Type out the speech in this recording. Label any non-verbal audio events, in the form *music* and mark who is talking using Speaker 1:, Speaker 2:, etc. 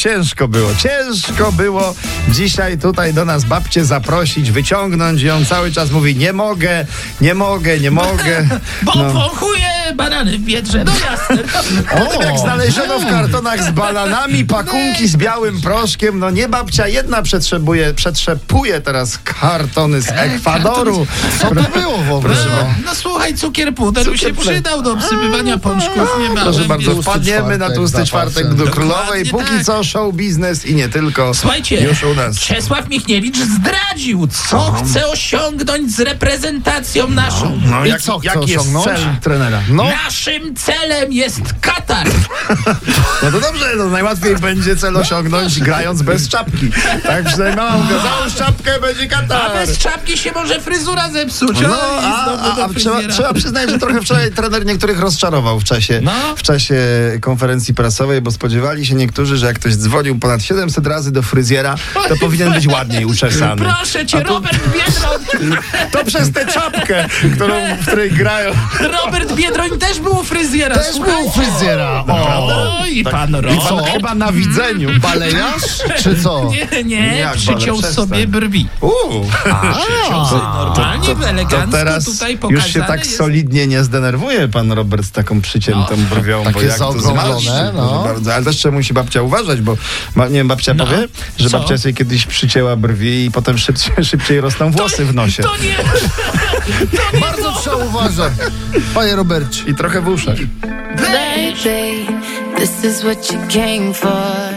Speaker 1: Ciężko było, ciężko było dzisiaj tutaj do nas babcię zaprosić, wyciągnąć ją. Cały czas mówi, nie mogę, nie mogę, nie
Speaker 2: *laughs*
Speaker 1: mogę.
Speaker 3: Bo
Speaker 1: No.
Speaker 3: wąchuje banany w biedrze, no
Speaker 1: *laughs*
Speaker 3: jasne.
Speaker 1: O, Tak jak znaleziono w kartonach z bananami, pakunki z białym proszkiem. No nie babcia jedna przetrzebuje, przetrzepuje teraz kartony z Ekwadoru.
Speaker 2: Co to było w ogóle?
Speaker 3: No, no słuchaj, cukier puder by się
Speaker 1: Cukier puder. tak.
Speaker 3: przydał do obsypywania
Speaker 2: No,
Speaker 3: pączków, nie ma.
Speaker 1: Proszę bardzo,
Speaker 2: Tłusty
Speaker 1: wpadniemy na
Speaker 2: czwartek
Speaker 1: tłusty
Speaker 2: za
Speaker 1: czwartek
Speaker 2: pasem.
Speaker 1: do
Speaker 2: Dokładnie
Speaker 1: królowej. Póki
Speaker 3: tak.
Speaker 1: co show biznes i nie tylko.
Speaker 3: Słuchajcie,
Speaker 1: Już u nas.
Speaker 3: Czesław Michniewicz zdradził, co chce osiągnąć z reprezentacją naszą.
Speaker 1: No,
Speaker 2: I
Speaker 1: jak,
Speaker 2: co chce
Speaker 1: jaki jest
Speaker 2: osiągnąć?
Speaker 1: cel trenera? No,
Speaker 3: Naszym celem jest Katar.
Speaker 1: no to dobrze, no najłatwiej będzie cel osiągnąć grając bez czapki. Tak przynajmniej mama mówiła, załóż czapkę, będzie
Speaker 3: A
Speaker 1: katar.
Speaker 3: bez czapki się może fryzura zepsuć.
Speaker 1: Tak. No,
Speaker 3: Oj, i
Speaker 1: a, a,
Speaker 3: znowu do
Speaker 1: a trzeba,
Speaker 3: fryzjera.
Speaker 1: trzeba przyznać, że trochę wczoraj trener niektórych rozczarował w czasie,
Speaker 3: No.
Speaker 1: w czasie konferencji prasowej, bo spodziewali się niektórzy, że jak ktoś dzwonił ponad 700 razy do fryzjera, to powinien być ładniej
Speaker 3: *laughs*
Speaker 1: uczesany.
Speaker 3: Proszę cię, Robert
Speaker 1: *laughs*
Speaker 3: Biedroń.
Speaker 1: To przez tę czapkę, którą, w której grają.
Speaker 3: Robert Biedroń też No. był u fryzjera.
Speaker 2: Też był u fryzjera. O,
Speaker 3: O, i pan
Speaker 1: Tak. I pan
Speaker 3: Robert.
Speaker 1: chyba na widzeniu.
Speaker 2: balejarz czy co?
Speaker 3: *laughs* Nie, nie,
Speaker 1: Jak,
Speaker 3: przyciął
Speaker 1: Robert,
Speaker 3: sobie
Speaker 1: przestań.
Speaker 3: brwi.
Speaker 1: Uuu.
Speaker 3: Normalnie, to,
Speaker 1: To
Speaker 3: elegancko
Speaker 1: teraz
Speaker 3: tutaj
Speaker 1: już
Speaker 3: pokazane
Speaker 1: się tak
Speaker 3: jest. No.
Speaker 1: solidnie nie zdenerwuje pan Robert z taką przyciętą brwią, bo
Speaker 2: takie
Speaker 1: jak to
Speaker 2: Tak zaokrąglone,
Speaker 1: zmarszczy,
Speaker 2: no.
Speaker 1: proszę bardzo. Ale też trzeba musi babcia uważać, bo ma, nie wiem, babcia
Speaker 3: No.
Speaker 1: powie, że
Speaker 3: Co?
Speaker 1: babcia sobie kiedyś przycięła brwi i potem szybciej, szybciej rosną włosy w nosie.
Speaker 3: To nie,
Speaker 2: Bardzo trzeba uważać. Panie Robercie.
Speaker 1: I trochę w uszach.
Speaker 4: Baby, this is what you came for.